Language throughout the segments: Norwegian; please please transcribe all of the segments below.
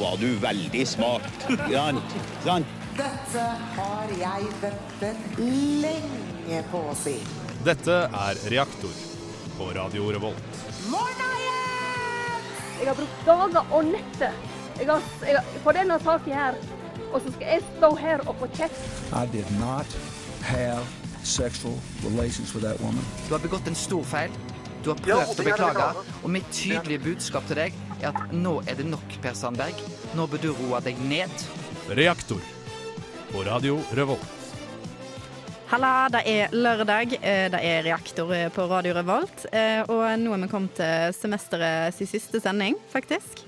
var du veldig smart. Sant? Sant? Dette har jeg ventet lenge på å si. Dette er Reaktor på Radio Revolt. Jeg har brukt dager og netter jeg har, jeg har, på denne saken her. Og så skal jeg stå her og få kjeft. I did not have sexual relations with that woman. Du har begått en stor feil. Du har prøvd å beklage. Og mitt tydelige budskap til deg er at nå er det nok, Per Sandberg. Nå bør du roe deg ned. Reaktor på Radio Revolt. Halla, det er lørdag. eh, Det er reaktor eh, på Radio Revolt. eh, Og nå er vi kommet til semesterets siste sending, faktisk.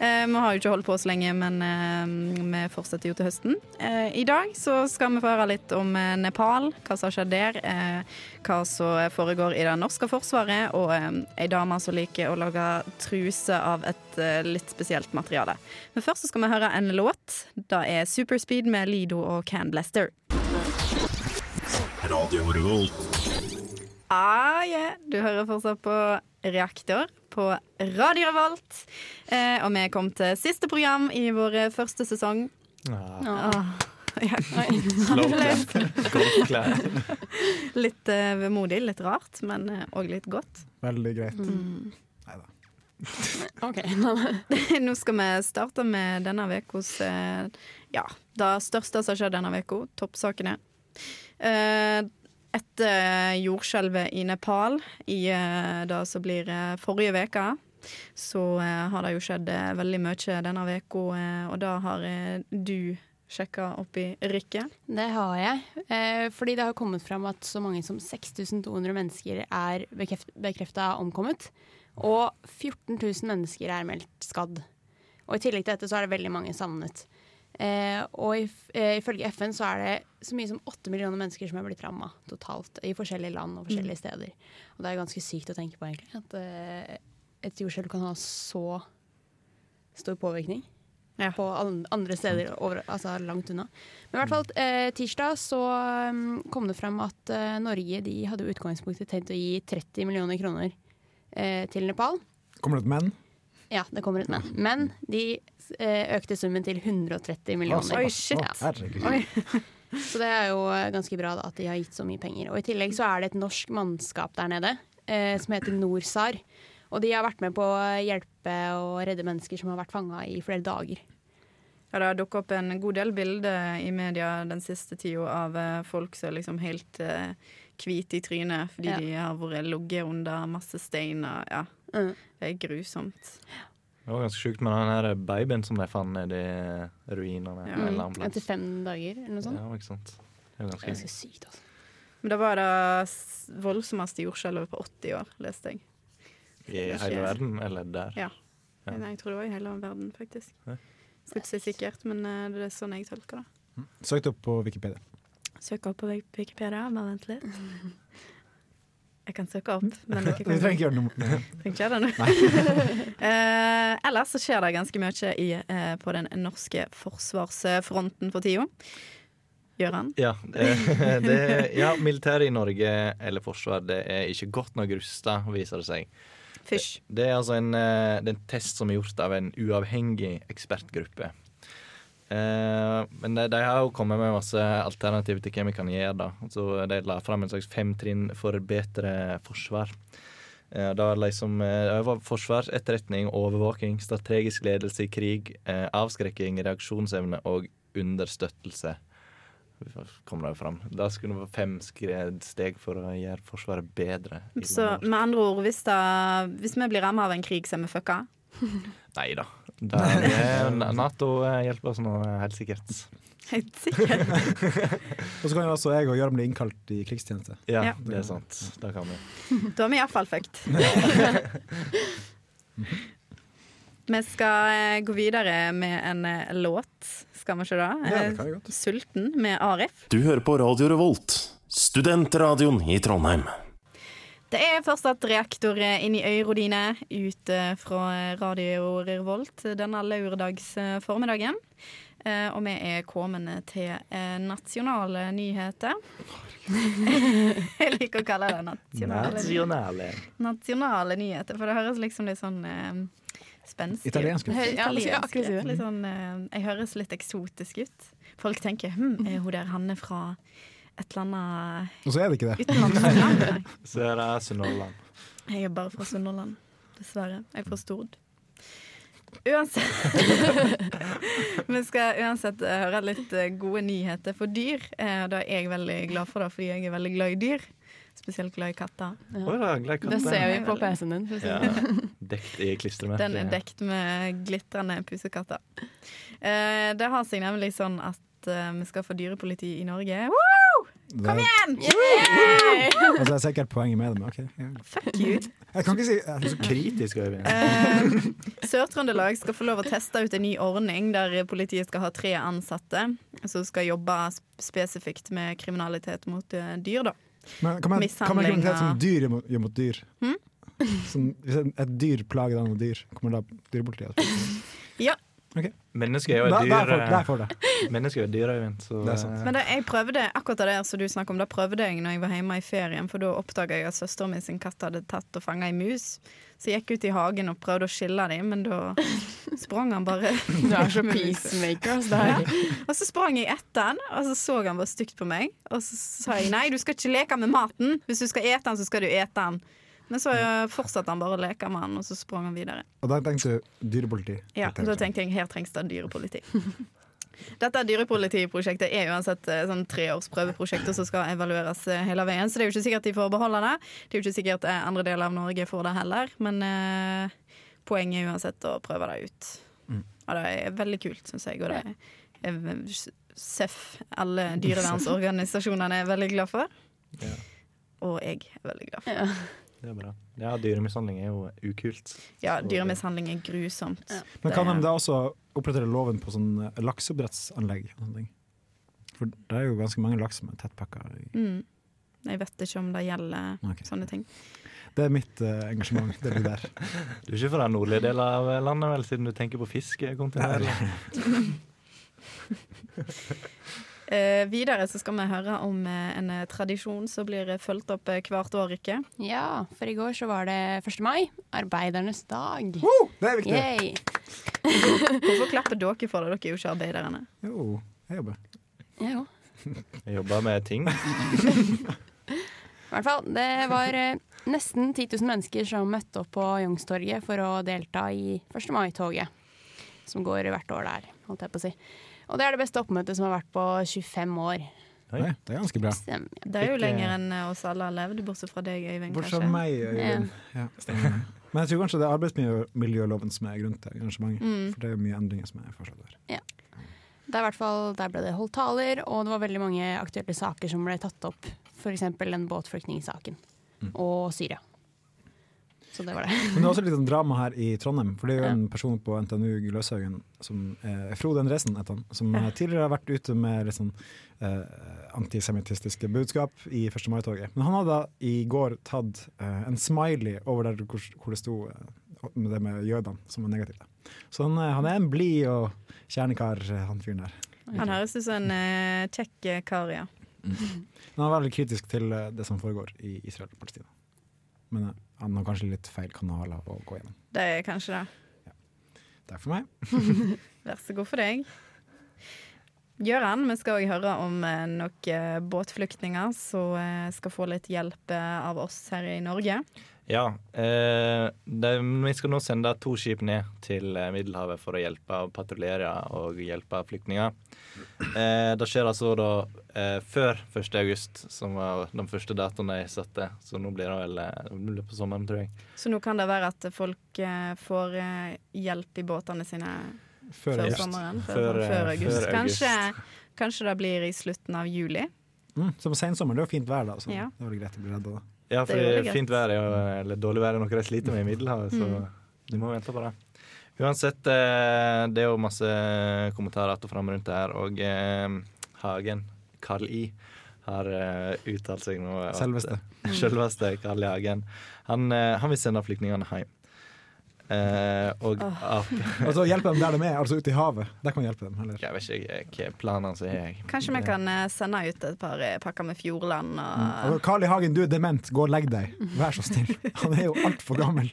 Eh, Vi har jo ikke holdt på så lenge, men eh, vi fortsetter jo til høsten. Eh, I dag så skal vi få høre litt om eh, Nepal, hva som har skjedd der. eh, Hva som foregår i det norske forsvaret, og eh, ei dame som liker å lage truse av et eh, litt spesielt materiale. Men først så skal vi høre en låt. Det er Superspeed med Lido og Can Blaster. Radio Revolt. Ah, yeah. Du hører fortsatt på Reaktor på Radio Revolt. Eh, og vi kom til siste program i vår første sesong. Ah. Ja. litt eh, vemodig, litt rart, men òg litt godt. Veldig greit. OK. Nei, nei. Nå skal vi starte med denne ukas eh, Ja, det største som har skjedd denne uka. Toppsakene. Eh, etter jordskjelvet i Nepal i eh, det som blir eh, forrige uke, så eh, har det jo skjedd eh, veldig mye denne uka, eh, og det har eh, du sjekka opp i Rikke. Det har jeg. Eh, fordi det har kommet fram at så mange som 6200 mennesker er bekrefta omkommet. Og 14 000 mennesker er meldt skadd. Og i tillegg til dette så er det veldig mange savnet. Eh, og if, eh, ifølge FN så er det så mye som 8 millioner mennesker som er blitt ramma totalt. I forskjellige land og forskjellige steder. Og det er ganske sykt å tenke på, egentlig. At eh, et jordskjelv kan ha så stor påvirkning Ja. på an- andre steder over, altså langt unna. Men i hvert fall eh, tirsdag så mm, kom det fram at eh, Norge de hadde i utgangspunktet tenkt å gi 30 millioner kroner eh, til Nepal. Kommer det et menn? Ja, det kommer et men. Men de eh, økte summen til 130 millioner. Oi, shit. Ja. Å, herregud. Så det er jo eh, ganske bra da, at de har gitt så mye penger. Og I tillegg så er det et norsk mannskap der nede eh, som heter NorSAR. Og de har vært med på å hjelpe og redde mennesker som har vært fanga i flere dager. Ja, det har dukket opp en god del bilder i media den siste tida av eh, folk som er liksom helt eh, hvite i trynet fordi Ja. de har vært ligget under masse steiner. Ja, Mm. det er grusomt. Det var ganske sjukt med den her babyen som de fant nedi ruinene. Ja. eller en annen plass. Mm. Etter fem dager eller noe sånt. Ja, ikke sant. Det er jo ganske Ganske sykt, altså. Men det var det s- voldsommeste jordskjelvet på 80 år, leste jeg. I hele verden, eller der. Ja. Ja. Nei, jeg tror det var i hele verden, faktisk. Ja. Skal ikke si sikkert, men eh, det er sånn jeg tolker det. Søkt opp på Wikipedia. Søk opp på Wik- Wikipedia, bare vent litt. Jeg kan søke opp, men dere Du kan trenger ikke gjøre noe med det. Trenger ikke det nå. Eh, ellers så skjer det ganske mye i, eh, på den norske forsvarsfronten for tida. Gøran? Ja, eh, det, ja, militæret i Norge, eller forsvar, det er ikke godt nok rusta, viser det seg. Fysj. Det er altså en, eh, det er en test som er gjort av en uavhengig ekspertgruppe. Eh, men de, de har jo kommet med masse alternativer til hva vi kan gjøre. da. Så De la fram en slags femtrinn for bedre forsvar. Eh, da liksom eh, det var Forsvar, etterretning, overvåking, strategisk ledelse i krig, eh, avskrekking, reaksjonsevne og understøttelse. Kom det jo fram. Da skulle det være fem skred- steg for å gjøre Forsvaret bedre. i Så landet vårt. med andre ord, hvis, da, hvis vi blir ramma av en krig, så er vi fucka. Nei da. Der, Nato eh, hjelper oss nå, eh, helt sikkert. Helt sikkert. Og så kan jo også jeg og Gøran bli innkalt i krigstjeneste. Ja, Ja. det er sant. Det kan vi. Da er vi iallfall fucked. Mhm. Vi skal eh, gå videre med en eh, låt, skal vi ikke det? Ja, det kan jeg godt. 'Sulten' med Arif. Du hører på Radio Revolt, studentradioen i Trondheim. Det er fortsatt reaktor inn i øyro dine ute fra Radio Revolt denne lørdagsformiddagen. Eh, Og vi er kommet til eh, nasjonale nyheter. Jeg liker å kalle det nasjonale, Nasjonale. nasjonale nyheter, for det høres liksom litt sånn eh, Spenstig. Italiensk ut. Hø- Ja, jeg skulle akkurat si det. ut. Litt sånn, eh, jeg høres litt eksotisk ut. Folk tenker hm, er hun der Hanne fra et eller annet Og så er det ikke det. utenlandsland? Nei, Så er det Sunnhordland. Jeg er bare fra Sunnhordland, dessverre. Jeg er fra Stord. Uansett Vi skal uansett eh, høre litt eh, gode nyheter for dyr. Eh, Da er jeg veldig glad for det, fordi jeg er veldig glad i dyr. Spesielt glad i katter. Oi, da, glad i katter. Det ser vi på PC-en din. For å si Ja, det. Dekt i klistremerker. Den er dekt med glitrende pusekatter. Eh, Det har seg nemlig sånn at eh, vi skal få dyrepoliti i Norge. Woo! Kom Det- igjen! Altså, jeg ser ikke helt poenget med det, men OK. ja. Fuck you. Jeg kan ikke si jeg er så Kritisk, Øyvind. Eh, Sør-Trøndelag skal få lov å teste ut en ny ordning der politiet skal ha tre ansatte som skal jobbe sp- spesifikt med kriminalitet mot eh, dyr. Da. Men kan man, kan man Mishandling kriminalitet av- som dyr gjør mot- gjør mot dyr? Hm? Som, hvis en- et dyr plager et annet dyr, kommer da dyrepolitiet? Ja. Ok. Mennesker er jo Da- et da er dyr. folk- da er folk det. eh, Mennesker er jo et dyr, Øyvind. Så, Det er sant. eh, Men det, jeg prøvde akkurat det der som du snakker om, da prøvde jeg når jeg var hjemme i ferien, for da oppdaga jeg at søsteren min sin katt hadde tatt og fanga ei mus. Så jeg gikk ut i hagen og prøvde å skille dem, men da sprang han bare. Du er så peacemaker. ass, det her. Og så sprang jeg etter han, og så så han bare stygt på meg. Og så sa jeg nei, du skal ikke leke med maten. Hvis du skal ete den, så skal du ete den. Men så eh, fortsatte han bare å leke med han, og så sprang han videre. Og da tenkte du dyrepoliti? Ja, tenkte Da jeg. tenkte jeg her trengs det dyrepoliti. Dette dyrepolitiprosjektet er uansett eh, sånn treårsprøveprosjekt og så skal evalueres eh, hele veien. Så det er jo ikke sikkert de får beholde det. Det er jo ikke sikkert eh, andre deler av Norge får det heller. Men eh, poenget er uansett å prøve det ut. Mm. Og det er veldig kult, syns jeg. Og det er eh, SEF, alle dyrevernsorganisasjonene, er veldig glad for. Ja. Og jeg er veldig glad for. Ja. det er bra. Ja, dyremishandling er jo ukult. Ja, dyremishandling er grusomt. Men Det kan er- de da også opprettholde loven på sånn eh, lakseoppdrettsanlegg? og sånne ting? For det er jo ganske mange laks som er tettpakka. i- Mm. Jeg vet ikke om det gjelder Ok. sånne ting. Det er mitt eh, engasjement. Det blir der. Du er ikke fra den nordlige delen av landet, vel, siden du tenker på fisk? kontinuerlig? Eh, videre så skal vi høre om eh, en eh, tradisjon som blir eh, fulgt opp eh, hvert år, ikke? ja, for i går så var det 1. mai, arbeidernes dag. Woo! Det er viktig! Yay. Hvorfor klapper dere for det? Dere er jo ikke arbeiderne. Jo, jeg jobber. Ja, jo. Jeg jobber med ting. I hvert fall, det var eh, nesten 10 000 mennesker som møtte opp på Youngstorget for å delta i 1. mai-toget, som går hvert år der, holdt jeg på å si. Og det er det beste oppmøtet som har vært på 25 år. Oi. Nei, det er ganske bra. Stem- ja. Det er jo Ikke- lenger enn eh, oss alle har levd, bortsett fra deg, Øyvind, Bortsett kanskje. fra meg, eh, Øyvind. Ja. Men jeg tror kanskje det er arbeidsmiljøloven som er grunnen til arrangementet. Mm. For det er jo mye endringer som er foreslått der. Det er i hvert fall, der ble det holdt taler, og det var veldig mange aktuelle saker som ble tatt opp. F.eks. den båtflyktningsaken Mm. og Syria. Så det var det. Men det er også litt sånn drama her i Trondheim, for det er jo en person på NTNU Gløshaugen, som eh, Frode Endresen heter han, som eh, tidligere har vært ute med litt sånn eh, antisemittistiske budskap i 1. mai-toget. Men han hadde da i går tatt eh, en smiley over der hvor, hvor det sto eh, med det med jødene, som var negativt. da. Så han, eh, han er en blid og kjernekar, eh, han fyren der. Han høres ut som en eh, kjekk eh, kar, ja. Men han er veldig kritisk til eh, det som foregår i Israel og Palestina. Men eh, han har kanskje litt feil kanaler å gå gjennom. Det er kanskje det. Takk for meg. Vær så god for deg. Gøran, vi skal òg høre om eh, noen båtflyktninger som eh, skal få litt hjelp eh, av oss her i Norge. Ja. Eh, de, vi skal nå sende to skip ned til eh, Middelhavet for å hjelpe og patruljere og hjelpe flyktninger. Eh, det skjer altså da eh, før 1. august, som var den første datoen de satte. Så nå blir det vel eh, det blir på sommeren, tror jeg. Så nå kan det være at folk eh, får eh, hjelp i båtene sine før, august. sommeren. Før, Før, før, eh, august. før august. Kanskje, kanskje det blir i slutten av juli. Mm, som sensommer, det er jo fint vær da, så Ja. det er vel greit å bli redd. Da. Ja, Det er jo for veldig fint vær er jo, eller dårlig vær er noe de sliter med i Middelhavet, så Mm. du må vente på det. Uansett, eh, det er jo masse kommentarer att Eh, og fram rundt det her, og eh, Hagen, Carl I, har eh, uttalt seg nå. at- Selveste. eh, Selveste Carl I. Hagen. Han, eh, han vil sende flyktningene hjem. Eh, og at Altså hjelpe dem der de er, altså ute i havet. Der kan vi hjelpe dem. Eller? Jeg vet ikke jeg, hva planene som er. jeg. Kanskje vi kan eh, sende ut et par eh, pakker med Fjordland og Altså, Carl I. Hagen, du er dement, gå og legg deg. Vær så snill. Han er jo altfor gammel.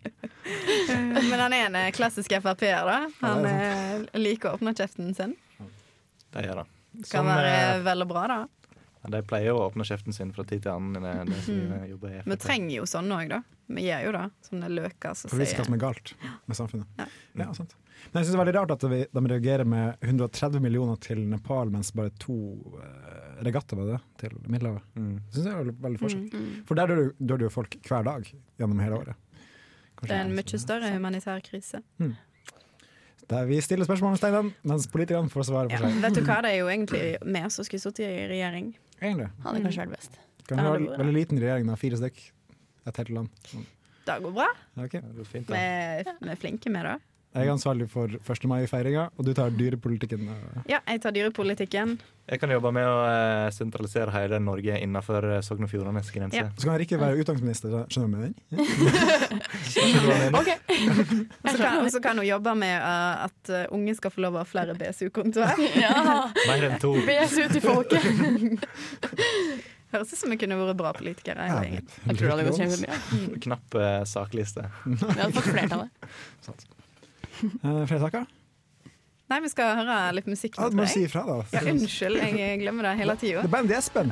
Men han er en eh, klassisk Frp-er, da. Han eh, liker å åpne kjeften sin. De gjør det. Kan Som, være eh, vel og bra, da. de pleier å åpne kjeften sin fra tid til annen. Det, er det som eh, jobber i Vi FrP. trenger jo sånne òg, da. Vi gjør jo det. Sånne løker som For å vise hva sier som er galt med samfunnet. Ja, sant. Men jeg synes det er veldig rart at vi- de reagerer med 130 millioner til Nepal, mens bare to eh, regatta var det, til Middelhavet. Det synes jeg er veldig- veldig forskjell. Mm, For der dør det jo- dør det jo folk hver dag gjennom hele året. sånn- Det er en mye større humanitær krise. Der vi stiller spørsmål, Steinan, mens politikerne får svare Ja. for seg. Vet du hva, det er jo egentlig vi som skulle sittet i regjering. Egentlig. Hadde kanskje vært best. Kan vi ha Ja, det en burde veldig liten regjering, da, fire stykk. Et helt land. Det går bra. Ja, ok. Det går fint, Vi da. er, vi er flinke med det. Jeg er ansvarlig for 1. mai-feiringa, og du tar dyrepolitikken. eh. Ja, jeg tar dyrepolitikken. Jeg kan jobbe med å eh, sentralisere hele Norge innenfor eh, Sogn og Fjordanes grense. Ja. Så kan Rikke være utdanningsminister, da. skjønner du hva jeg mener? Og så kan- og så kan hun jobbe med eh, at eh, unge skal få lov å ha flere BSU-kontoer. Ja, Mer enn to. BSU til folket. Høres ut som vi kunne vært bra politikere. hele gjengen. Jeg tror det hadde gått kjempebra. Knapp eh, sakliste. Vi hadde fått flertallet. Eh, Flere saker? Nei, vi skal høre litt musikk Ja, nå, du må tror si jeg. ifra, da. Ja, unnskyld, jeg glemmer det hele tida. Det er bandet Espen.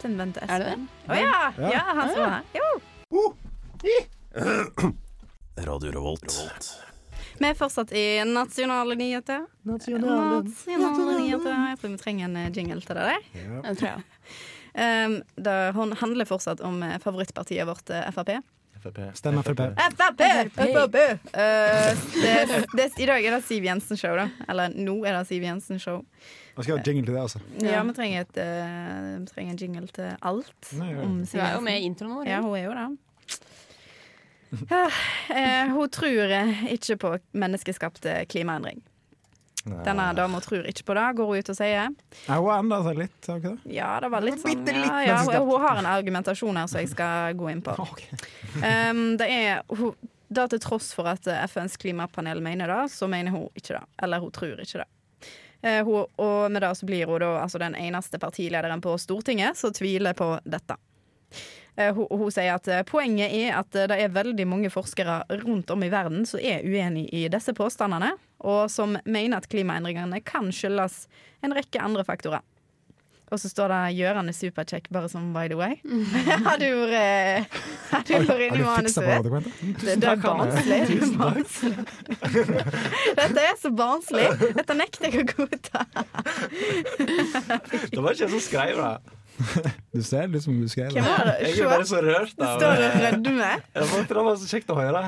Den venter Er det Espen. Å ja! Ja. ja! Han som var her. Jo. Radio Revolt. Vi er fortsatt i nasjonale nyheter. Nasjonale, nyheter. Jeg tror vi trenger en eh, jingle til det der. Det tror jeg. Um, det hon- handler fortsatt om eh, favorittpartiet vårt, eh, Frp. FrP. Stemmer Frp. Frp! Eh, det, det, I dag er det Siv Jensen-show, da. Eller nå er det Siv Jensen-show. Jeg skal ha jingle til det, altså. Ja, vi trenger, et, eh, vi trenger en jingle til alt Nei, ja. om Du Siv er jo Jensen. med i introen vår. Ja, hun er jo det. Ja, eh, hun tror eh, ikke på menneskeskapte klimaendring. Denne dama tror ikke på det, går hun ut og sier. Jeg har enda seg litt, har ikke det? Ja, det var litt sånn Bitte litt ja, ja, menneskeskapt. Hun har en argumentasjon her som jeg skal gå inn på. Um, det er hun, da til tross for at eh, FNs klimapanel mener det, så mener hun ikke det. Eller hun tror ikke det. Eh, hun, og med det så blir hun da altså den eneste partilederen på Stortinget som tviler på dette. Eh, hun, hun sier at eh, poenget er at eh, det er veldig mange forskere rundt om i verden som er uenig i disse påstandene, og som mener at klimaendringene kan skyldes en rekke andre faktorer. Og så står det 'Gjøran er superkjekk', bare som by the way. Har du vært eh, Har du vært Har inne du i fiksa på manuset? dokumentet? Det, det er barnslig. Det er barnslig. Dette er så barnslig. Dette nekter jeg å godta. Det var ikke jeg som skrev det. Du ser ut som du skrev Hvem det. var det? Jeg er bare Se, så rørt det av det. står og rødmer. Jeg måtte- Det var så kjekt å høre.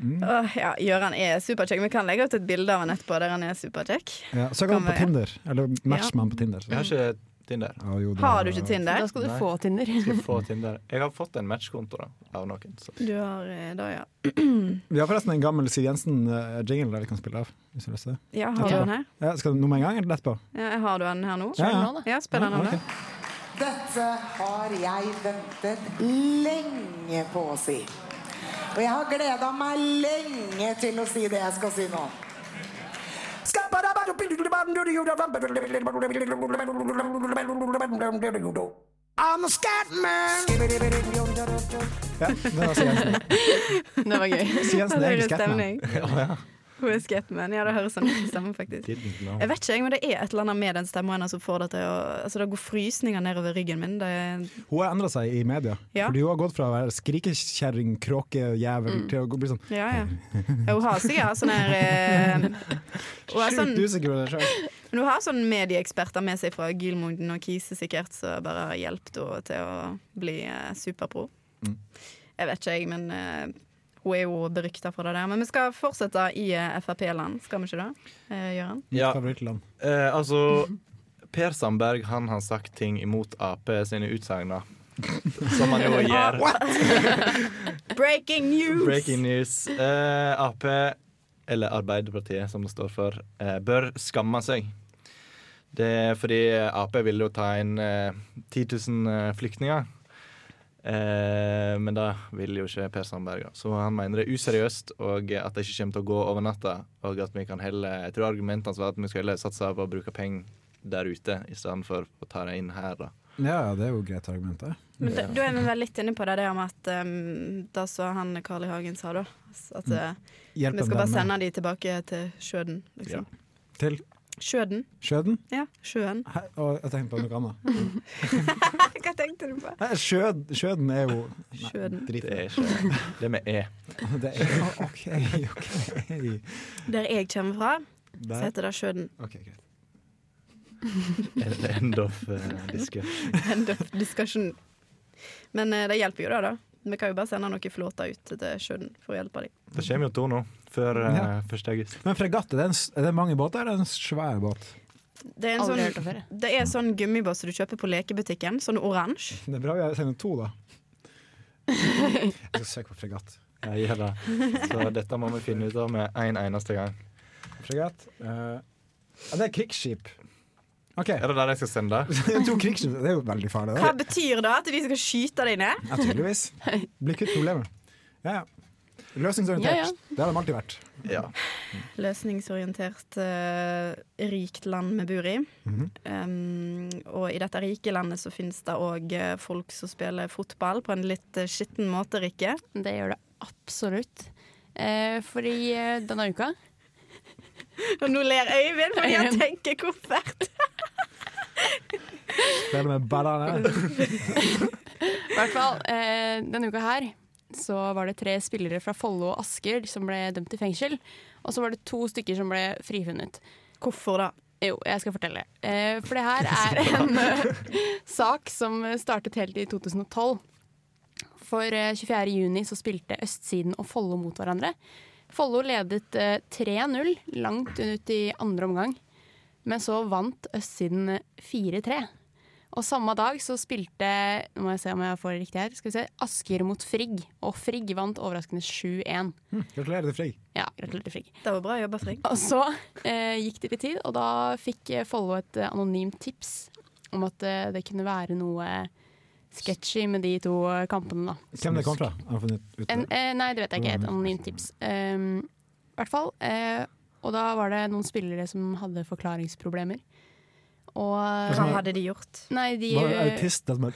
Åh, Ja, Gjøran er superkjekk. Vi kan legge ut et bilde av han etterpå der han er superkjekk. Ja, Søk han Kan på vi- Tinder, eller match med han på Tinder. Jeg har ikke Tinder. Ja, jo, det- Har du ikke Da Tinder? skal du Nei. få Tinder. Jeg skal få Tinder. Jeg har fått en matchkonto da, av noen. Så. Du har eh, da, ja. Vi har forresten en gammel Siv Jensen-jingle der vi kan spille av. Hvis du har lyst til det. Ja, har du han her? Ja, skal du noe med en gang, eller etterpå? Ja, har du han her nå? Ja, ja. Ja, spiller han nå? Ja, Dette har jeg ventet lenge på å si. Og jeg har gleda meg lenge til å si det jeg skal si nå. I'm a scatman. Ja, det var Siv Jensen. Det var gøy. Siv Jensen er Høyre egentlig Scatman. stemning. Hun er skatman. Ja, det høres sånn ut sammen, faktisk. Didn't know. Jeg vet ikke, jeg, men det er et eller annet med den stemmen hennes som får det til å Altså, det går frysninger nedover ryggen min. Det er Hun har endra seg i media. Ja. Mm. Fordi hun har gått fra å være skrikekjerring, kråkejævel til å gå- bli sånn Ja, ja. Ja, Hun har sikkert sånn her eh, Hun har sånn, sjukt usikker på det sjøl. men hun har sånn medieeksperter med seg fra Gilmonden og Kise, sikkert, som bare har hjulpet henne til å bli eh, superpro. Jeg vet ikke, jeg, men eh, hun er jo berykta for det der. Men vi skal fortsette i eh, Frp-land, skal vi ikke det, eh, Gøran? Ja, Favorittland. eh, altså Per Sandberg han har sagt ting imot Ap sine utsagn, da. Som han jo gjør. Breaking news! Breaking news. Eh, Ap, eller Arbeiderpartiet som det står for, eh, bør skamme seg. Det er fordi Ap ville jo ta inn eh, 10 000 eh, flyktninger. Eh, men det vil jo ikke Per Sandberg. da. Så han mener det er useriøst, og at det ikke kommer til å gå over natta. Og at vi kan heller, jeg tror argumentene var at vi skal heller satse på å bruke penger der ute, i stedet for å ta det inn her. da. Ja, ja, det er jo greit argument, det. Men da, da er vi vel litt inne på det, det med at um, det som han Carl I. Hagen sa, da. At eh, Hjelp vi dem skal bare med- sende de tilbake til sjøen, liksom. Til Sjøen? Skjøden? Ja, sjøen. Hæ? Og jeg tenkte på noe annet. Hva tenkte du på? Nei, Skjød, skjøden er jo Nei, Skjøden. drit i Det er ikke det E. vi er. Det er Å, OK, OK. Der jeg kommer fra, så Der. heter det sjøen. Ok, greit. End- End of eh, discussion. End of discussion. Men eh, det hjelper jo, da. da. Vi kan jo bare sende noen flåter ut til sjøen for å hjelpe dem. Det kommer jo to nå, før eh, 1. august. Men fregatt, er det, en, s- er det mange båter eller er det en svær båt? Det er, en Aldri hørt sånn, om før, det er sånn gummiboss du kjøper på lekebutikken, sånn oransje. Det er bra vi har sendt to, da. Jeg skal søke på fregatt. Ja, gjør det. Så dette må vi finne ut av med en eneste gang. Fregatt eh, ja, Det er krigsskip. OK. Er det der jeg skal sende? det? Det er to krigsskip, det er jo veldig farlig. Hva Det. betyr det? At de skal skyte deg ned? Ja, tydeligvis. Blir kutt problemet. Ja, ja. Løsningsorientert. Ja, ja. Det har de alltid vært. Ja. Løsningsorientert eh, rikt land vi bor i. um, og i dette rike landet så finnes det òg eh, folk som spiller fotball på en litt eh, skitten måte, Rikke. Det gjør det absolutt. Eh, fordi eh, denne uka Og nå ler Øyvind fordi han tenker koffert. Spiller med ballene. I hvert fall, eh, denne uka her så var det tre spillere fra Follo og Asker som ble dømt til fengsel. Og så var det to stykker som ble frifunnet. Hvorfor da? Jo, jeg skal fortelle. Eh, for det her er en eh, sak som startet helt i 2012. For eh, 24. juni så spilte Østsiden og Follo mot hverandre. Follo ledet eh, 3-0 langt ut i andre omgang, men så vant Østsiden 4-3. Og samme dag så spilte nå må jeg se om jeg får det riktig her, skal vi se, Asker mot Frigg, og Frigg vant overraskende 7-1. Hm, Gratulerer til Frigg. Ja, gratulerer til Frigg. Det var bra jobba, Frigg. Og så eh, gikk det litt tid, og da fikk eh, Follo et eh, anonymt tips om at eh, det kunne være noe sketchy med de to eh, kampene, da. Hvem det kom fra? Har du funnet ut En, det? eh, nei, det vet jeg ikke. Et anonymt tips. Um, I hvert fall. Eh, og da var det noen spillere som hadde forklaringsproblemer. Og eh, Hva hadde de gjort? Nei, de Var det eh, autist? det som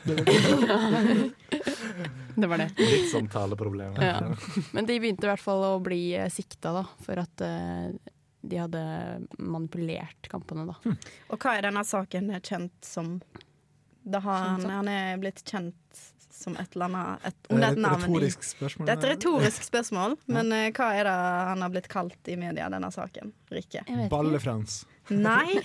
er- Det var det. Litt sånn taleproblemer. Ja. Men de begynte i hvert fall å bli eh, sikta, da, for at eh, de hadde manipulert kampene, da. Og hva er denne saken kjent som? Da har han, han er blitt kjent som et eller annet et, Under et Et navn. i- Eh, Retorisk spørsmål. Det er et retorisk spørsmål, men eh, hva er det han har blitt kalt i media, denne saken? Rikke? Jeg vet ikke. Balle-Frans. Nei,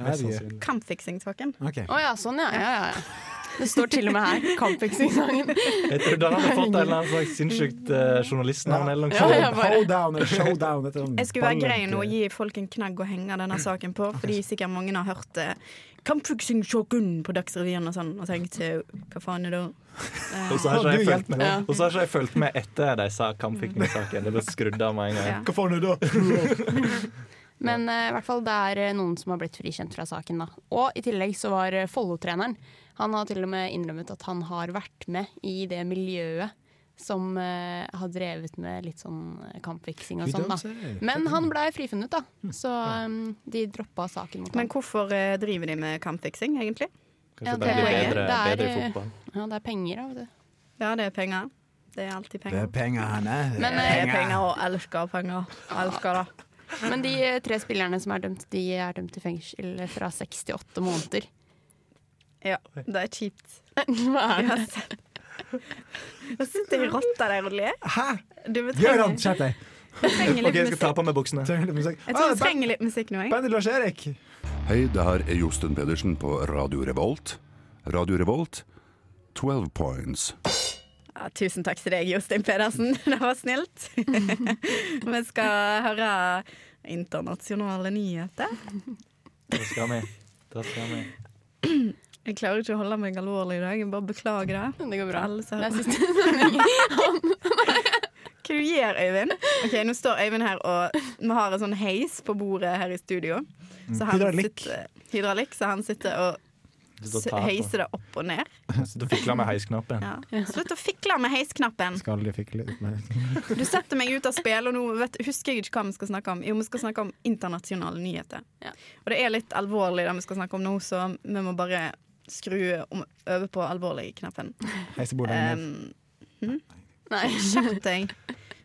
Herregud. kampfiksingssaken. Ok. Å ja, sånn ja. ja, ja, ja. Det står til og med her. Kampfiksingssangen. Jeg trodde han hadde fått en eller annen slags sinnssykt eh, journalistnavn eller noe Ja, sånt. ja, bare- Hoedown eller showdown. dette er sånn Jeg skulle være grei ballen- nå og gi folk en knagg å henge denne saken på, fordi sikkert mange har hørt eh, 'Kampfiksingssaken' på Dagsrevyen og sånn, og tenkt eh, hva faen er det? Og så har ikke Å, jeg du fulgt hjelper med. meg. Og så har ikke jeg fulgt med etter de sa kampfiksingsaken. Det ble skrudd av med en gang. Ja. Hva faen er det da? Men eh, i hvert fall det er eh, noen som har blitt frikjent fra saken. da. Og i tillegg så var eh, Follo-treneren Han har til og med innrømmet at han har vært med i det miljøet som eh, har drevet med litt sånn eh, kampfiksing og You sånn. don't da. say. Men han blei frifunnet, Hm. da. Så eh, de droppa saken mot Men ham. hvorfor eh, driver de med kampfiksing, egentlig? Kanskje Ja, Altså, det bare det blir er- bedre, det er- eh, bedre i fotball. Ja, det er penger, da. vet du. Ja, det er penger. Det er alltid Det penger. er penger, Hanne. Men, Det er eh, penger og elsker penger. Elsker det. men de eh, tre spillerne som er dømt, de er dømt til fengsel eh, fra seks til åtte måneder. Ja, det er kjipt. Hva er det? Nå sitter ei rotte der og ler. Hæ? Du vi trenger, Gøran, skjerp deg! vi trenger OK, litt jeg skal ta musikk. på meg buksene. Trenger litt musikk. Jeg Ah, tror det vi er trenger litt musikk nå, jeg. Bandy Lars-Erik! Hei, det her er Josten Pedersen på Radio Revolt. Radio Revolt, 12 points. Ja, tusen takk til deg, Jostein Pedersen. Det var snilt. vi skal høre internasjonale nyheter. Det skal vi. Det skal vi. Jeg klarer ikke å holde meg alvorlig i dag. Jeg bare beklager det. Det går bra. Alle som Det hører er på. siste Hva du gjør Øyvind? Ok, Nå står Øyvind her, og vi har en sånn heis på bordet her i studio. Så han Mm. Hydraulikk. sitter- Hydraulikk, så han sitter og Slutt å ta på. Heise det opp og ned. Slutt å fikle med heisknappen. Ja. Slutt å fikle med heisknappen. Skal de fikle litt med Du setter meg ut av spill, og nå vet, husker jeg ikke hva vi skal snakke om. Jo, vi skal snakke om internasjonale nyheter. Og det er litt alvorlig det vi skal snakke om nå, så vi må bare skru om, over på alvorlig-knappen. heisebordet? ned. Um, hm? Skjerp deg.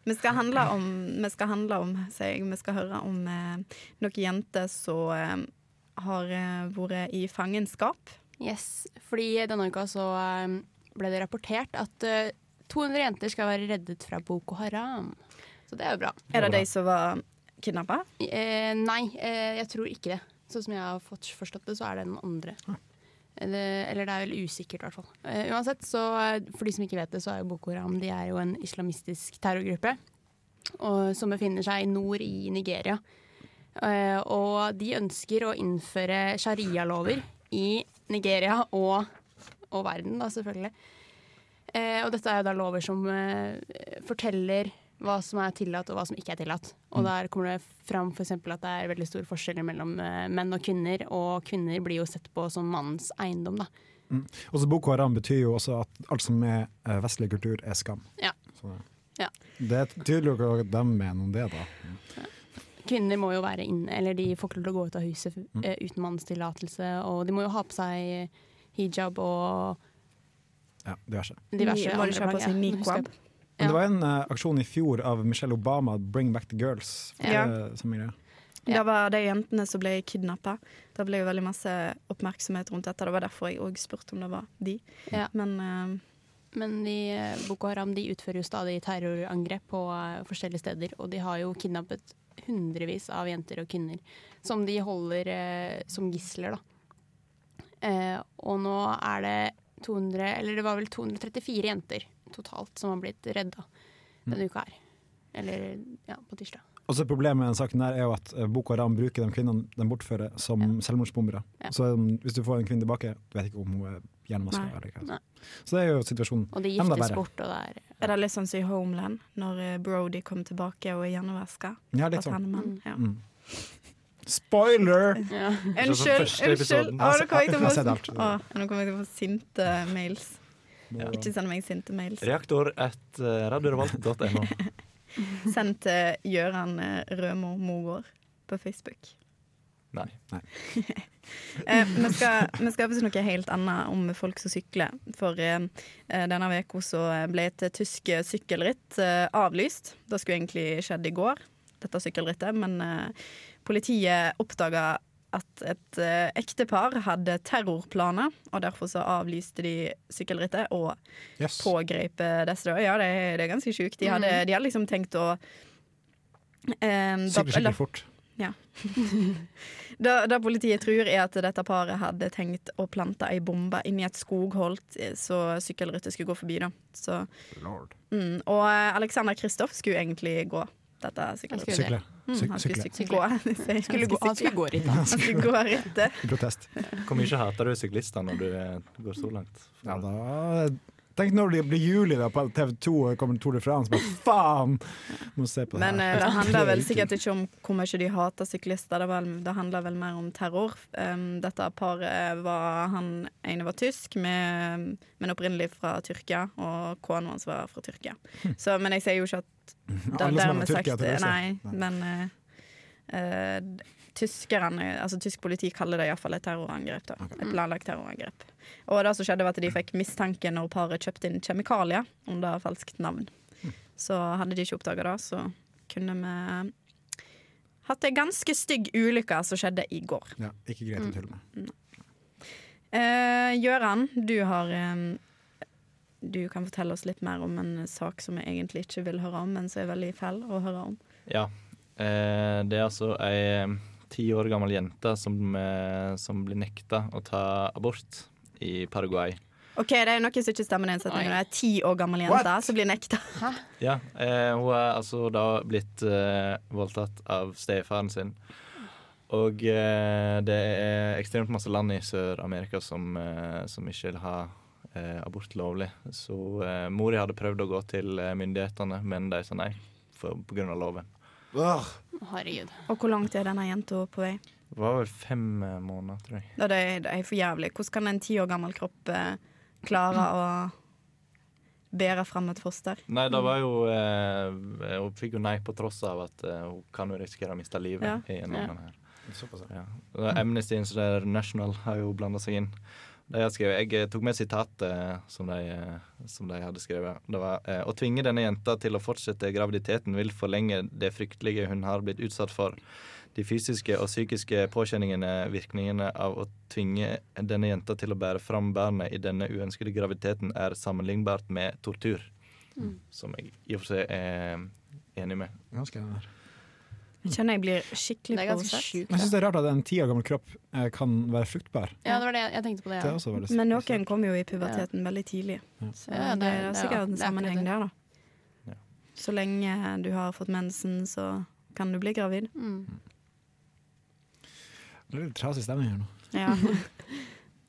Vi skal handle om, vi skal, handle om sier jeg, vi skal høre om eh, noen jenter som eh, har eh, vært i fangenskap. Yes, fordi denne uka så um, ble det rapportert at uh, 200 jenter skal være reddet fra Boko Haram. Så det er jo bra. Er det de som var kidnappa? Eh, nei, eh, jeg tror ikke det. Sånn som jeg har fått forstått det, så er det den andre. Eller, eller det er vel usikkert, i hvert fall. Eh, uansett, så eh, for de som ikke vet det, så er jo Boko Haram de er jo en islamistisk terrorgruppe. Og, som befinner seg i nord i Nigeria. Eh, og de ønsker å innføre sharialover i Nigeria og, og verden, da, selvfølgelig. Eh, og dette er jo da lover som eh, forteller hva som er tillatt og hva som ikke er tillatt. Og der kommer det fram f.eks. at det er veldig store forskjeller mellom eh, menn og kvinner, og kvinner blir jo sett på som mannens eiendom, da. Mm. Også Boko Haram betyr jo også at alt som er eh, vestlig kultur, er skam. Ja. Så ja. det er tydelig hva de mener om det, da. Kvinner må jo være inne, eller de får ikke lov til å gå ut av huset Mm. eh, uten mannens tillatelse, og de må jo ha på seg hijab og Ja, diverse. diverse Ni- må de andre kjøpe plagg, seg ja. niqab? Nå husker jeg på- Men det var en eh, aksjon i fjor av Michelle Obama, 'Bring back the girls'. For Ja. det er samme greie. Det var de jentene som ble kidnappa. Det ble jo veldig masse oppmerksomhet rundt dette. Det var derfor jeg òg spurte om det var de. Ja. Men eh, Men de, eh, Boko Haram de utfører jo stadig terrorangrep på eh, forskjellige steder. Og de har jo kidnappet hundrevis av jenter og kvinner som de holder eh, som gisler. da. Eh, og nå er det 200, eller det var vel 234 jenter totalt som har blitt redda Mm. denne uka her. Eller ja, på tirsdag. Og så Problemet med den saken der er jo at eh, Boko Haram bruker de kvinnene de bortfører, som selvmordsbombere. Ja. Så um, hvis du får en kvinne tilbake, du vet ikke om hun er hjernevaska Nei. eller Nei. hva. Så det er jo situasjonen. Og de Enda giftes verre. bort, og det er er det litt sånn som i Homeland, når eh, Brody kommer tilbake og er hjernevaska? Ja, litt At han er mann, ja. Mm. Spoiler! Det Ja. er sånn Unnskyld, første unnskyld. episoden. Å, nå kommer jeg til å Jeg har sett alt. få, å, nå kommer jeg til å få sinte mails. Ja. Ikke send meg sinte mails. Reaktor at eh, radiorevolt.no. Send til Gøran eh, Rømo Mogård på Facebook. Nei. Eh, vi skal, vi skal til noe helt annet om folk som sykler. For eh, eh, denne uka så ble et tysk sykkelritt eh, avlyst. Det skulle egentlig skjedd i går, dette sykkelrittet, men eh, politiet oppdaga at et eh, ektepar hadde terrorplaner, og derfor så avlyste de sykkelrittet og yes. pågrep eh, disse. da. Ja, det, det er ganske sjukt. De, hadde- Mhm. de hadde liksom tenkt å eh, da- Sykler eller- skikkelig fort. ja. da, da politiet tror er at dette paret hadde tenkt å plante ei bombe inni et skogholt, eh, så sykkelryttet skulle gå forbi. da. Så, Lord. mm, og eh, Alexander Kristoff skulle egentlig gå dette sykkelrittet. Sykle. Mm, Syk- han skulle sykle. syk- gå. Han Skulle gå- han skulle gå rittet. Han skulle gå rittet. I protest. Hvor mye hater du syklister når du eh, går så langt? Ja, da, tenk når det blir juli da, på TV 2 og kommer Tour de France. Bare, faen! Må se på det Men eh, her. det handler vel sikkert ikke om hvor mye de hater syklister, det, var, det handler vel mer om terror. Um, dette paret var Han ene var tysk, med, men opprinnelig fra Tyrkia, og kona hans var fra Tyrkia. Hm. Så, men jeg sier jo ikke at det Alle som er er fra dermed Tyrkia, sagt tror jeg, så. Nei, men eh, eh, d- Tyskerne, altså Tysk politi kaller det iallfall et terrorangrep. Da. Et planlagt terrorangrep. Og det som skjedde var at De fikk mistanke når paret kjøpte inn kjemikalier under falskt navn. Hm. Så hadde de ikke oppdaga det, så kunne vi hatt ei ganske stygg ulykke som skjedde i går. Ja, ikke greit Mm. å tulle med. Eh, Gøran, du har eh, Du kan fortelle oss litt mer om en sak som vi egentlig ikke vil høre om, men som er veldig fæl å høre om. Ja. Eh, det er altså ei ti år gammel jente som, eh, som blir nekta å ta abort i Paraguay. OK, det er noe som ikke stemmer i den setningen. Det er ti år gammel jente som blir nekta. Ja, eh, Hun er altså da blitt eh, voldtatt av stefaren sin. Og eh, det er ekstremt masse land i Sør-Amerika som, eh, som ikke vil ha eh, abort lovlig. Så eh, mora hadde prøvd å gå til eh, myndighetene, men de sa nei for- på grunn av loven. Og hvor langt er denne jenta på vei? Det var vel fem eh, måneder, tror jeg. Ja, Det, er- det er for jævlig. Hvordan kan en ti år gammel kropp eh, klare å bære fram et foster? Nei, det var jo eh, Hun fikk jo nei på tross av at eh, hun kan jo risikere å miste livet. Ja. gjennom Ja. den her. Ja. Og Amnesty International har jo blanda seg inn. De har skrevet, jeg eh, tok med sitatet eh, som, de, eh, som de hadde skrevet. Det var eh, Å tvinge denne jenta til å fortsette graviditeten vil forlenge det fryktelige hun har blitt utsatt for. De fysiske og psykiske påkjenningene, virkningene av å tvinge denne jenta til å bære fram barnet i denne uønskede graviditeten, er sammenlignbart med tortur. Mm. Som jeg i og for seg er enig med. Ganske nær. Jeg kjenner jeg blir skikkelig Det er ganske provosert. sjukt. Men Jeg syns det er rart at en ti år gammel kropp eh, kan være fruktbar. Ja, det var det jeg, jeg tenkte på det. Det er også veldig Men noen kom jo i puberteten veldig tidlig, så Ja, det- det, er det er- sikkert en det er akkurat sammenheng der, da. Så lenge du har fått mensen, så kan du bli gravid. Mm. Det er litt trasig stemning her nå. Ja.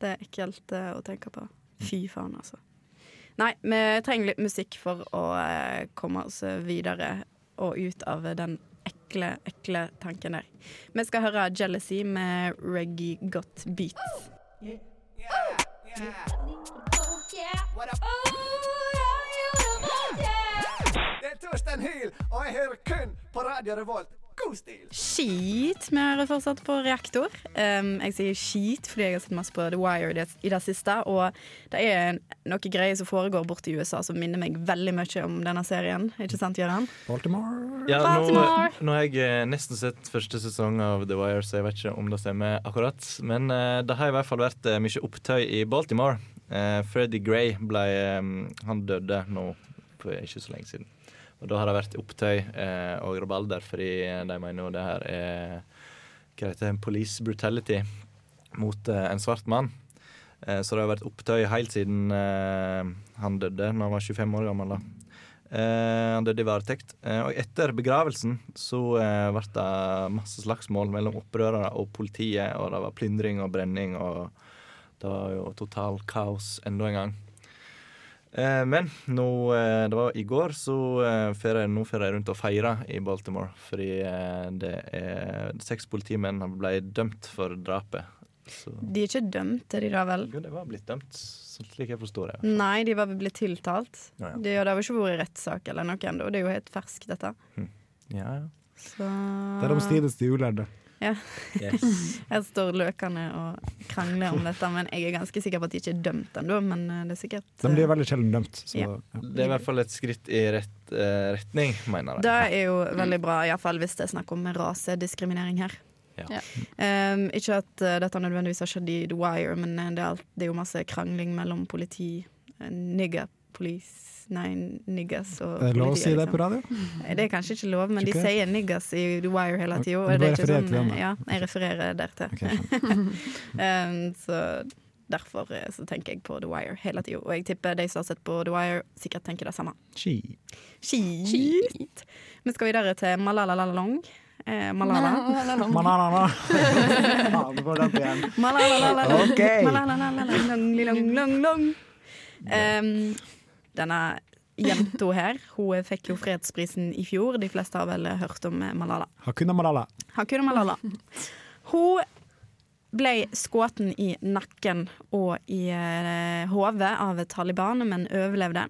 Det er ekkelt eh, å tenke på. Fy faen, altså. Nei, vi trenger litt musikk for å eh, komme oss videre og ut av den ekle, ekle tanken der. Vi skal høre 'Jealousy' med Reggie Got Beats. Det er Torstein Hyl, og jeg hører kun på Radio Revolt. God stil! Skit vi hører fortsatt på Reaktor. Um, jeg sier skit fordi jeg har sett masse på The Wire i det, i det siste. Og det er noe greier som foregår borte i USA som minner meg veldig mye om denne serien. Ikke sant, Gøran? Baltimore. Ja, nå, Baltimore. nå har jeg eh, nesten sett første sesong av The Wire, så jeg vet ikke om det stemmer akkurat. Men eh, det har i hvert fall vært eh, mye opptøy i Baltimore. Eh, Freddie Gray ble eh, Han døde nå for ikke så lenge siden. Og da har det vært opptøy eh, og rabalder, fordi eh, de mener jo det her er Hva heter det? Police brutality mot eh, en svart mann. Eh, Så det har vært opptøy helt siden eh, han døde når han var 25 år gammel. da. Eh, han døde i varetekt. Eh, og etter begravelsen så eh, ble det masse slagsmål mellom opprørere og politiet, og det var plyndring og brenning, og det var jo total kaos enda en gang. Eh, men nå, eh, det var i går, så eh, fer jeg, nå fer jeg rundt og feirer i Baltimore. Fordi eh, det er seks politimenn ble dømt for drapet. Så. De er ikke dømt, er de da vel? Jo, de var blitt dømt, sånn slik jeg forstår det. Nei, de var vel blitt tiltalt. Ja, ja. De, og det har jo ikke vært rettssak eller noe ennå. Det er jo helt ferskt, dette. Ja, ja. Så Det er omstrides de ulærde. Ja. Yes. Her står løkene og krangler om dette, men jeg er ganske sikker på at de ikke er dømt ennå. Men eh, det er sikkert De blir veldig sjelden dømt. Så, Ja. ja. Det er i hvert fall et skritt i rett eh, retning, mener Det jeg. er jo veldig bra, iallfall hvis det er snakk om rasediskriminering her. Ja. Ja. Um, ikke at eh, dette nødvendigvis har skjedd i The Wire, men eh, det er, alt, det er jo masse krangling mellom politi, eh, nigger police, nei, niggers og Er det lov å politiet, si det liksom. på radio? Eh, Det er kanskje ikke lov, men Tror de ikke sier niggers i The Wire hele Ok, tida. du Og bare det er ikke refererer til sånn den, da. Ja, jeg refererer der til. um, så derfor eh, så tenker jeg på The Wire hele tida. Og jeg tipper de som har sett på The Wire, sikkert tenker det samme. Ski. Skit. Vi skal videre til Malala Lalong. Eh, Malala. Mananana. Faen, du får den igjen. Malalalalong. Ok. Malalalalong. Em, Denne jenta her, hun fikk jo fredsprisen i fjor. De fleste har vel hørt om eh, Malala. Hakuna Malala. Hakuna Malala. Hun ble skutt i nakken og i eh, hodet av Taliban, men overlevde.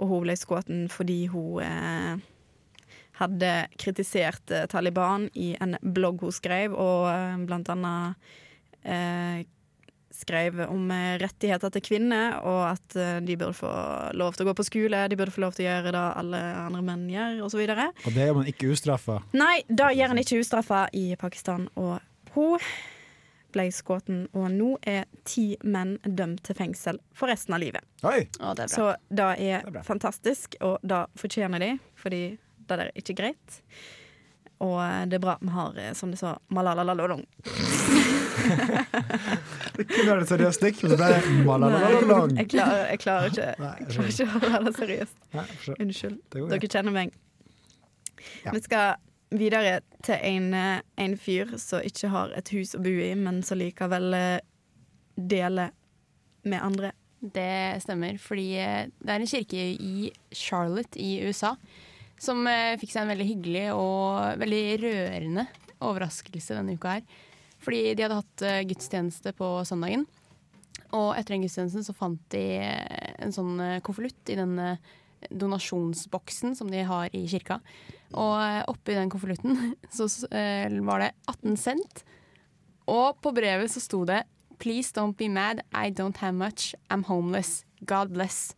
Og hun ble skutt fordi hun eh, hadde kritisert eh, Taliban i en blogg hun skrev, og eh, blant annet eh, skrev om eh, rettigheter til kvinner, og at eh, de burde få lov til å gå på skole, de burde få lov til å gjøre det alle andre menn gjør, osv. Og det gjør man ikke ustraffa. Nei, da gjør han ikke ustraffa i Pakistan. Og hun ble skutt, og nå er ti menn dømt til fengsel for resten av livet. Oi! det er bra. Så det er, Det er bra. fantastisk, og det fortjener de, fordi det der er ikke greit. Og det er bra at vi har, eh, som du sa, Malala Lalolong. Kunne være et seriøst stikk, men så ble det Malala. jeg, klarer, jeg klarer ikke Jeg klarer ikke å være seriøst. Unnskyld. Det går Dere greit. kjenner meg. Vi skal videre til en, eh, en fyr som ikke har et hus å bo i, men som likevel eh, deler med andre. Det stemmer, fordi eh, det er en kirke i Charlotte i USA som eh, fikk seg en veldig hyggelig og veldig rørende overraskelse denne uka her. Fordi de hadde hatt eh, gudstjeneste på søndagen. Og etter den gudstjenesten så fant de eh, en sånn eh, konvolutt i den eh, donasjonsboksen som de har i kirka. Og eh, oppi den konvolutten så eh, var det 18 cent. Og på brevet så sto det Please don't be mad, I don't have much, I'm homeless, God bless.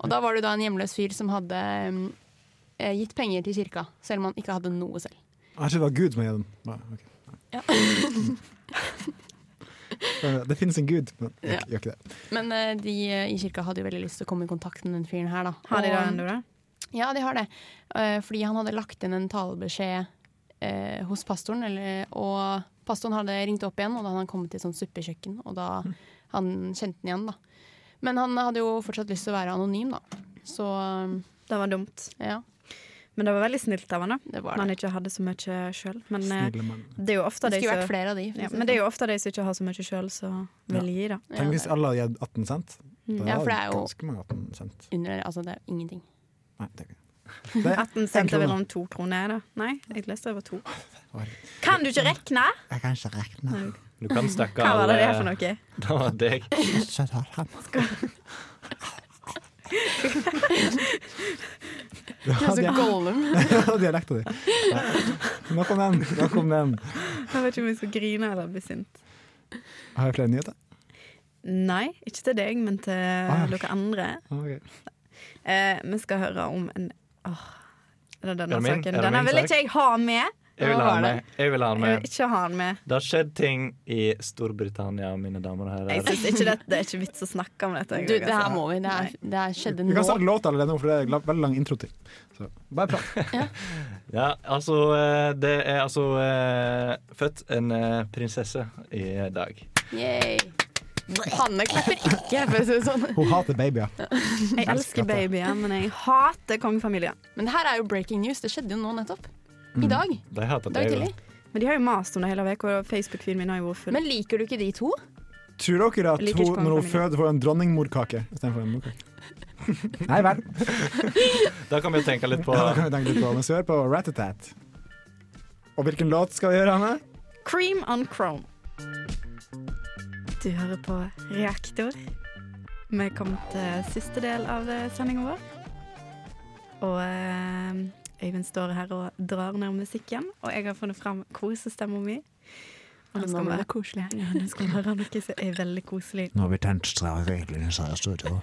Og da var det da en hjemløs fyr som hadde mm, eh, gitt penger til kirka, selv om han ikke hadde noe selv. Jeg tror det var Gud som hadde den. Nei, ok. Mm. Eh, Det finnes en Gud, men gjør ikke- gjør ikke det. Men eh, de eh, i kirka hadde jo veldig lyst til å komme i kontakt med den fyren her, da. Har de Og- det ennå, da? Ja, de har det. Eh, fordi han hadde lagt inn en talebeskjed eh, hos pastoren, eller, og pastoren hadde ringt opp igjen, og da hadde han kommet til et sånt suppekjøkken, og da Mm. han kjente han igjen, da. Men han hadde jo fortsatt lyst til å være anonym, da. Så eh, Det var dumt. Ja. Men det var veldig snilt av han da. var Når han ikke hadde så mye sjøl. Men eh, Snille mann. det er jo ofte de Det skulle som- vært flere av de, for Ja, å si det sånn. men det er jo ofte de som ikke har så mye sjøl, som vil gi, da. Tenk hvis alle hadde gitt 18 cent. Mm. Da Ja, for det er jo- ganske mange 18 cent. under, altså, det er jo ingenting. Nei, det er ikke det. er 18 en cent er krone. vel om to kroner, da. Nei, jeg leste det var to. Kan du ikke rekne? Jeg kan ikke regne. Du kan stakke Hva var det alle- det er Det var deg. Ja, Det er så Altså, dia- Gollum. ja, dialekta di. Ja. Nok om den. Nok om den. Jeg vet ikke om jeg skal grine eller bli sint. Har jeg flere nyheter? Nei, ikke til deg, men til Ah, ja. dere andre. Ah, ok. Eh, vi skal høre om en Åh, det er denne Er det min? Er saken. det Denne min vil sak? ikke jeg ha med. Jeg vil Hva ha var den det? med. Jeg vil ha den Jeg vil med. ikke ha den med. Det har skjedd ting i Storbritannia, mine damer og Jeg synes herrer. ikke det, det er ikke vits å snakke om dette. altså. Du, det her må vi. Det, er, det er skjedde Vi nå. kan starte låta allerede nå, for det er la- veldig lang intro til. Så, bare prat. Ja, altså eh, Det er altså eh, født en eh, prinsesse i dag. Yay. Hanne klapper ikke, for å si det sånn. Hun hater babyer. Jeg elsker babyer, men jeg hater kongefamilien. Men det her er jo breaking news. Det skjedde jo nå nettopp. Mm. I dag. De hater Dag babyer. tidlig. Men de har jo mast om det hele uka, og Facebook-feeden min har jo vært full. Men liker du ikke de to? Tror dere Jeg at liker ikke hun, når hun kongefamilien. føder, får en dronningmorkake istedenfor en morkake? Nei vel. Da kan vi jo tenke litt på Ja, da kan vi tenke litt på mens vi hører på Rat-a-tat. Og hvilken låt skal vi gjøre, Hanne? Cream on chrome. Du hører på Reaktor. Vi er kommet til siste del av sendinga vår. Og eh, Øyvind står her og drar ned musikken, og jeg har funnet fram kosestemma mi. Og Ja, nå blir det koselig her. Ja, nå skal vi høre noe som er veldig koselig. Nå har vi tent strøreglene som er i studio.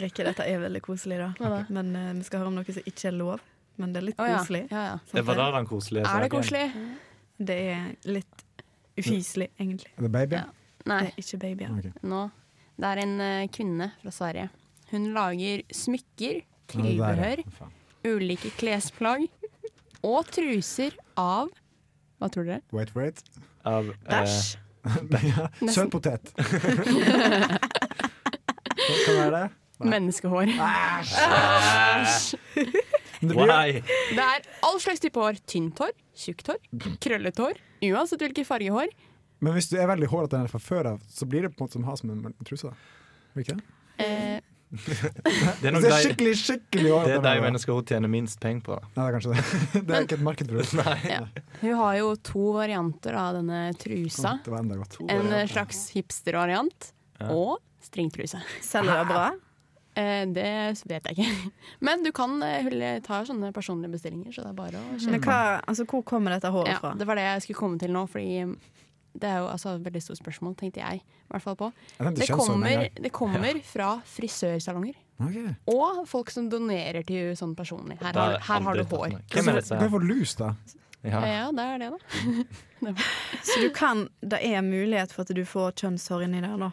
Rikke, dette er veldig koselig, da. Hva Men eh, vi skal høre om noe som ikke er lov. Men det er litt Å ja. koselig. Ja, ja. Det var da den koselige Er det saken. koselig? Det er litt ufyselig, egentlig. Er det babyer? Nei. Det er ikke babyer. Nå. Det er en eh, kvinne fra Sverige. Hun lager smykker, Ja, det der, tilbehør, ja. Faen. ulike klesplagg og truser av Hva tror dere? Wait for it. Av Bæsj. Eh. ja. Sølvpotet. Hva er det? Menneskehår. Æsj! Det blir- Why? Det er all slags type hår. Tynt hår, tjukt hår, krøllet hår. Uansett hvilken farge hår. Men hvis du er veldig hårete der fra før av, så blir det på en måte som å ha som en truse. da. Blir ikke det? Eh, Det er, nok Det er de- skikkelig, skikkelig hårete. Det er der, de da. menneskene hun tjener minst penger på. Nei, det er kanskje det. Det er ikke et marked for det. hun har jo to varianter av denne trusa. Det var enda godt. En eh, slags hipstervariant Ja. og stringtruse. Selger det bra? Eh, det vet jeg ikke. Men du kan eh, hun tar sånne personlige bestillinger, så det er bare å Men hva, altså, hvor kommer dette håret Mm. ja, fra? Det var det jeg skulle komme til nå, fordi um, det er jo altså, et veldig stort spørsmål, tenkte jeg. I hvert fall på. Jeg tenkte Det sånn kjønnshår med en kommer, gang. det kommer fra frisørsalonger. Ok. Og folk som donerer til sånn personlig. Her, Det har har- jeg her har du aldri tatt hår. med. Hvem er disse her? Det er for lus, da. Ja. ja, det er det, da. Så du kan, det er mulighet for at du får kjønnshår inni der, da?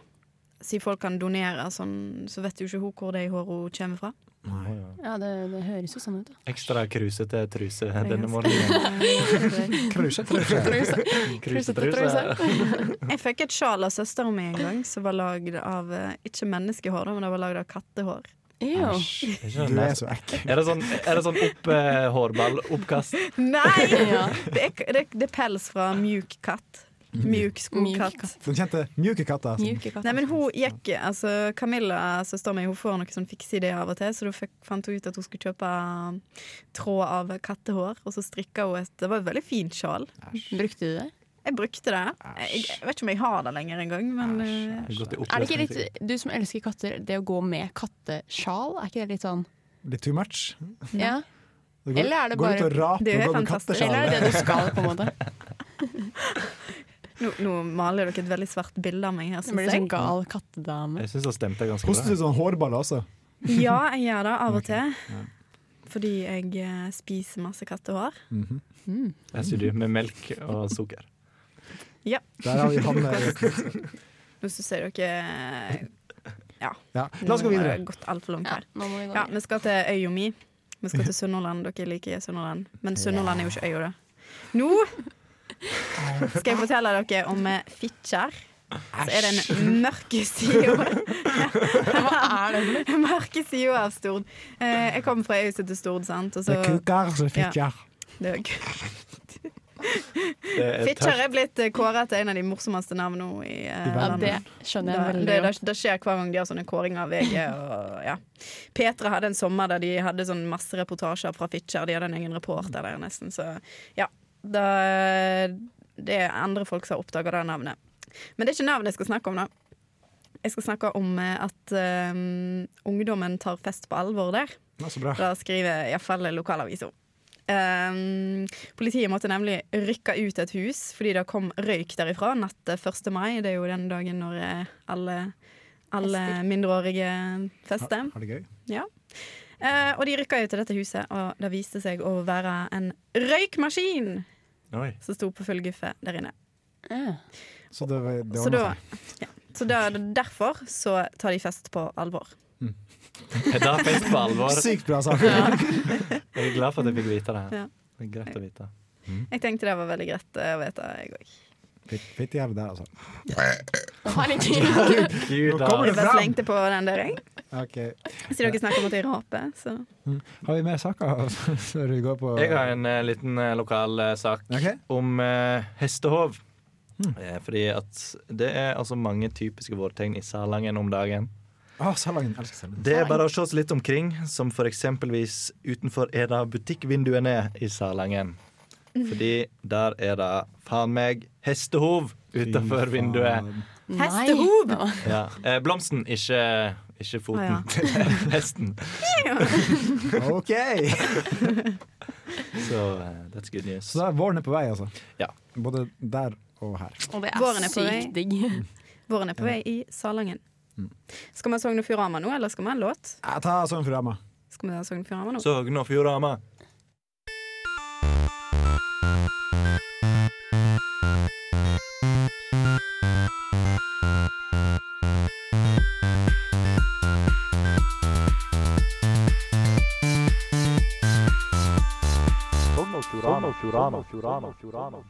Siden folk kan donere sånn, så vet jo ikke hun hvor det håret hun kommer fra. Ja, det, det høres jo sånn ut, da. Ekstra krusete truse denne ganske- morgenen. Kruse, truse. Kruse, truse. Jeg fikk et sjal av søsteren min en gang som var lagd av eh, ikke menneskehår, da, men det var lagd av kattehår. Du er så ekkel. Er det sånn, er det sånn opp eh, hårball, oppkast? Nei! Det, er, det, er, det er pels fra mjuk katt. Mjuk skogkatt. Den kjente mjuke katta. som- Nei, men hun gikk, altså Camilla, søsteren min, hun får noen sånn fikse ideer av og til, så da fikk, fant hun ut at hun skulle kjøpe um, tråd av kattehår, og så strikka hun et Det var et veldig fint sjal. Brukte du det? Jeg brukte det. Jeg, jeg vet ikke om jeg har det lenger engang, men eh, Er det ikke litt, Du som elsker katter, det å gå med kattesjal, er ikke det litt sånn Litt too much. Mm. Ja. Det går- Eller er det går bare ut og raper Det er og går med fantastisk. kattesjal. Eller er det det du skal, på en måte? nå, nå maler dere et veldig svart bilde av meg her, Det blir syns sånn jeg. gal kattedame. Jeg syns det stemte ganske Hostet bra. ut sånn hårballer også. Ja, jeg gjør det av og til. Ja. Fordi jeg eh, spiser masse kattehår. Mm. Jeg syr det med melk og sukker. Ja. Der har vi eh, Hanne. Nå syns jeg dere eh, Ja. Ja, la oss gå videre. Nå har det gått altfor langt her. Ja, vi skal til øya mi. Vi skal til Sunnhordland. Dere liker Sunnhordland. Men Sunnhordland er jo ikke øya, da. Nå skal jeg fortelle dere om eh, Fitjar. Så er det en mørke side Hva er det? Mørke sida av Stord. Eh, Jeg kommer fra øya som heter Stord, sant. Og så, Det er kukar som er Fitjar. Ja, det er kuk- Fitjar er blitt eh, kåret til en av de morsomste navnene nå i eh, I verden. Ja, landet. det skjønner jeg veldig det, det, godt. det skjer hver gang de har sånne kåringer av VG. Og, ja. Petra hadde en sommer der de hadde sånn masse reportasjer fra Fitjar. De hadde en egen reporter der nesten, så ja. Da, det er andre folk som har oppdaga det navnet. Men det er ikke navnet jeg skal snakke om, da. Jeg skal snakke om eh, at eh, ungdommen tar fest på alvor der. Ja, så bra. Da skriver iallfall lokalavisa. Um, politiet måtte nemlig rykke ut et hus fordi det kom røyk derifra natt til 1. mai. Det er jo den dagen når eh, alle, alle Fester. mindreårige fester. Har det gøy? Ja. Eh, og de rykka ut til dette huset, og det viste seg å være en røykmaskin Oi. som sto på full guffe der inne. Så det, var- det Så, ordnet da, seg. ja. så da, derfor så tar de fest på alvor. Det er fest på alvor. Sykt bra sak. Ja. Jeg er glad for at jeg fikk vite det. Ja. her. Det er greit å vite. Jeg tenkte det var veldig greit eh, å vite, jeg òg. Fitt- Fittejævel der, altså. Jeg Nå kommer det bare fram! slengte på den der, jeg. Ok. Siden dere snakker om at jeg raper, så Mm. Har vi mer saker før vi går på Jeg har en eh, liten eh, lokal eh, sak om eh, hestehov. Hmm. Eh, fordi at det er altså mange typiske vårtegn i Salangen om dagen. Å, Ah, Salangen. Elsker Salangen. Det er bare å se oss litt omkring, som for eksempelvis utenfor en av butikkvinduene i Salangen. Fordi der er det faen meg hestehov utenfor vinduet. Hestehov! Ja. Eh, blomsten, ikke, ikke foten. Å, Hesten. OK! Så eh, that's good news. Så da er våren er på vei, altså. Ja. Både der og her. Og det er Våren er på vei. sykt digg. Våren er på Ja. vei i Salangen. Mm. Skal vi ha Sogn og Fjordama nå, eller skal vi ha en låt? Jeg tar sånn for dama. Skal vi ha Sogn og Fjordama nå? Sogn og Fjordama.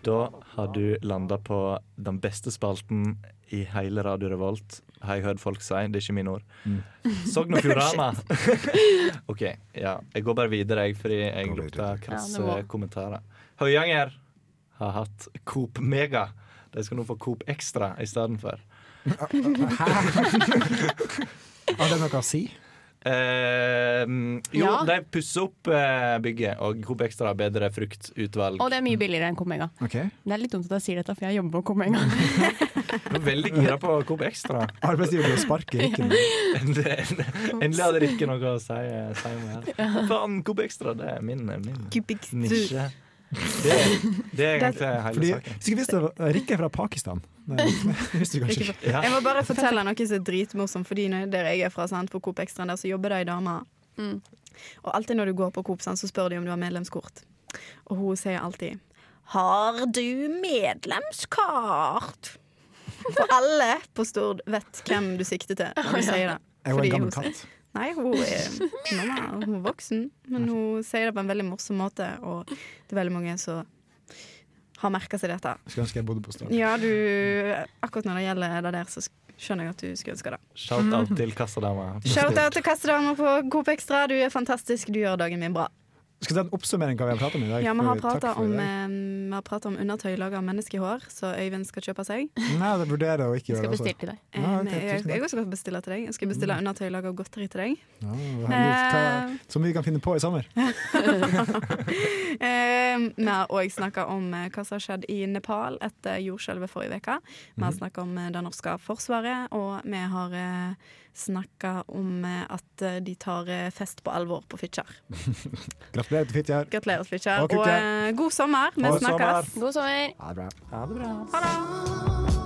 Da har du landa på den beste spalten i hele Radio Revolt, har jeg hørt folk si. Det er ikke mine ord. Sogn og Fjordama. OK. Ja. Jeg går bare videre, jeg, fordi jeg lukter krasse Ja, det må. kommentarer. Høyanger har hatt Coop Mega. De skal nå få Coop Extra istedenfor. Har det noe å si? Eh, jo, Ja. de pusser opp eh, bygget, og Coop Extra har bedre fruktutvalg. Og det er mye billigere enn Comega. Det er litt dumt at jeg sier dette, for jeg jobber på Comega. Jeg er veldig gira på Coop Extra. Arbeidsgiver blir å sparke rikken. Endelig hadde Rikke noe å si, eh, si om det her. Faen, Coop Extra, det er min, min nisje. Det, det er egentlig hele Fordi, saken. hvis du ikke visste det, Rikke er fra Pakistan. Det det visste du kanskje ikke. Jeg må bare fortelle noe som er dritmorsomt, Fordi når der jeg er fra, sant, på Coop Extra, der så jobber det ei dame. Og alltid når du går på Coop, sant, så spør de om du har medlemskort. Og hun sier alltid Har du medlemskart? For alle på Stord vet hvem du sikter til når du sier det. Jeg var Fordi en gammel hun- katt. Nei, hun er normal, hun er voksen, men hun sier det på en veldig morsom måte, og det er veldig mange som har merka seg dette. Skulle ønske jeg bodde på Stavanger. Ja, du, akkurat når det gjelder det der, så skjønner jeg at du skulle ønske det. Shout-out til kassadama. Shout-out til kassadama på Coop Extra. Du er fantastisk, du gjør dagen min bra. Skal vi ta en oppsummering hva vi har pratet om i dag? Ja, vi For- har takk prata for i om, dag. eh, vi har pratet om undertøy laga av menneskehår, så Øyvind skal kjøpe seg. Nei, jeg vurderer å ikke gjøre det. altså. Eh, Ja, ok, nei, jeg, tusen takk. Mm. jeg også skal bestille til deg. Jeg skal bestille undertøy laga av godteri til deg. Ja, herregud, hva, så mye vi kan finne på i sommer. Eh, vi har òg snakka om eh, hva som har skjedd i Nepal etter jordskjelvet forrige uke. Vi har Mhm. snakka om eh, det norske forsvaret, og vi har eh, snakka om eh, at eh, de tar eh, fest på alvor på Fitjar. Gratulerer til Fitjar. Gratulerer, Fitjar. Og Og Kukkel. eh, god sommer. Vi God snakkes. sommer. Ha det bra. Ha det.